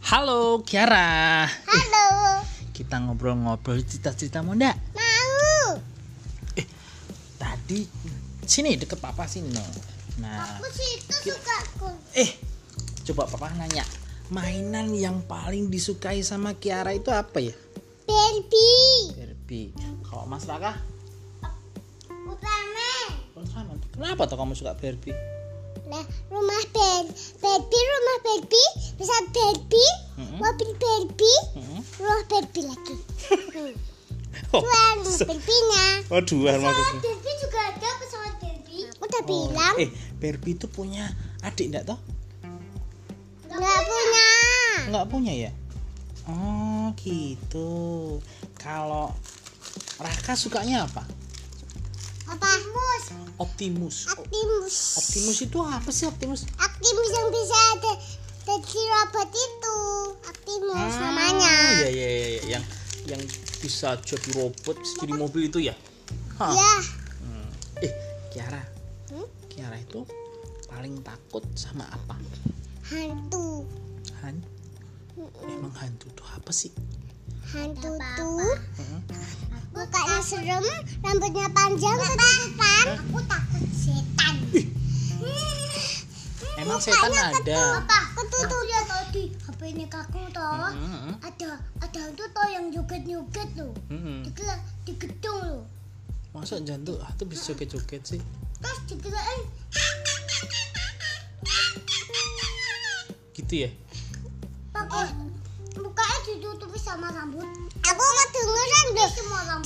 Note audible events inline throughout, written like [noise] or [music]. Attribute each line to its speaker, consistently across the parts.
Speaker 1: Halo Kiara,
Speaker 2: Halo,
Speaker 1: kita ngobrol-ngobrol cita-cita muda.
Speaker 2: mau?
Speaker 1: Tadi sini deket papa sini no. Nah,
Speaker 2: Aku sih itu suka aku.
Speaker 1: eh coba papa nanya, mainan yang paling disukai sama Kiara itu apa ya?
Speaker 2: Barbie,
Speaker 1: Barbie. Kalau Mas Raka,
Speaker 2: Ultraman.
Speaker 1: Ultraman. kenapa tuh kamu suka Barbie?
Speaker 2: Nah, rumah Ben, Barbie, rumah Barbie, bisa Barbie,
Speaker 1: Mm-mm.
Speaker 2: mobil Barbie,
Speaker 1: Mm-mm.
Speaker 2: rumah Barbie lagi. Hmm.
Speaker 1: Hmm? [laughs] Oh,
Speaker 2: Dua rumah Barbie-nya.
Speaker 1: oh dua maksudnya.
Speaker 2: Barbie juga ada pesawat Barbie. Udah bilang,
Speaker 1: Eh, Barbie itu punya adik enggak toh?
Speaker 2: nggak punya.
Speaker 1: Enggak punya ya? Oh, gitu. Kalau Raka sukanya apa?
Speaker 2: Optimus,
Speaker 1: Optimus. O-
Speaker 2: Optimus,
Speaker 1: Optimus itu apa sih Optimus?
Speaker 2: Optimus yang bisa ada jadi robot itu, Optimus namanya.
Speaker 1: Ya, ya, ya, ya. yang yang bisa jadi robot, bisa jadi mobil itu ya. Hah.
Speaker 2: Ya,
Speaker 1: Hmm. Eh, Kiara.
Speaker 2: Hmm?
Speaker 1: Kiara itu paling takut sama apa?
Speaker 2: hantu.
Speaker 1: Han? Emang hantu itu apa sih?
Speaker 2: Hantu tuh
Speaker 1: Heeh.
Speaker 2: mukanya serem, rambutnya panjang, ketutupan. Aku takut setan.
Speaker 1: Emang setan ada?
Speaker 2: Apa? Ketutup ya tadi HP ini kaku toh.
Speaker 1: Heeh, heeh,
Speaker 2: Ada ada hantu toh yang joget-joget loh.
Speaker 1: heeh.
Speaker 2: Dikira di gedung loh.
Speaker 1: Masa jantung itu bisa joget-joget sih?
Speaker 2: Terus dikirain
Speaker 1: Gitu ya?
Speaker 2: pakai mukanya ditutupi sama rambut. Aku kedengeran deh.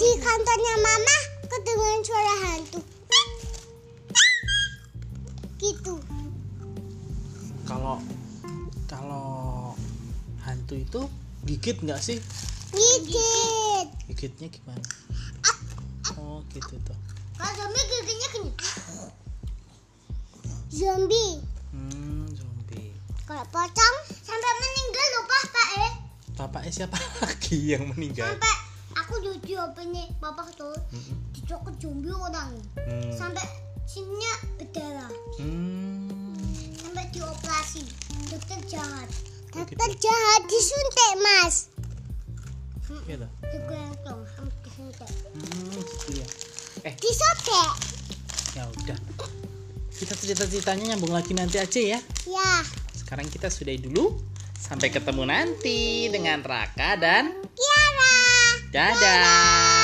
Speaker 2: Di kantornya mama kedengeran suara hantu. Gitu.
Speaker 1: Kalau kalau hantu itu gigit nggak sih?
Speaker 2: Gigit.
Speaker 1: Gigitnya gimana? Oh gitu tuh.
Speaker 2: Kalau zombie giginya gini. Zombie.
Speaker 1: Hmm, zombie.
Speaker 2: Kalau pocong sampai meninggal lupa Pak eh.
Speaker 1: Bapaknya siapa lagi yang meninggal?
Speaker 2: Sampai aku jujur apanya bapak tuh dicokot zombie orang.
Speaker 1: Hmm.
Speaker 2: Sampai sininya berdarah.
Speaker 1: Hmm.
Speaker 2: sampai dioperasi dokter jahat
Speaker 1: Dokter
Speaker 2: jahat disuntik mas
Speaker 1: Gitu.
Speaker 2: digendong sampai disuntik
Speaker 1: Hmm, gitu ya. Eh,
Speaker 2: disobek
Speaker 1: ya udah. Kita cerita-ceritanya nyambung lagi nanti aja ya.
Speaker 2: ya
Speaker 1: Sekarang kita sudahi dulu. Sampai ketemu nanti dengan Raka dan
Speaker 2: Kiara
Speaker 1: Dadah.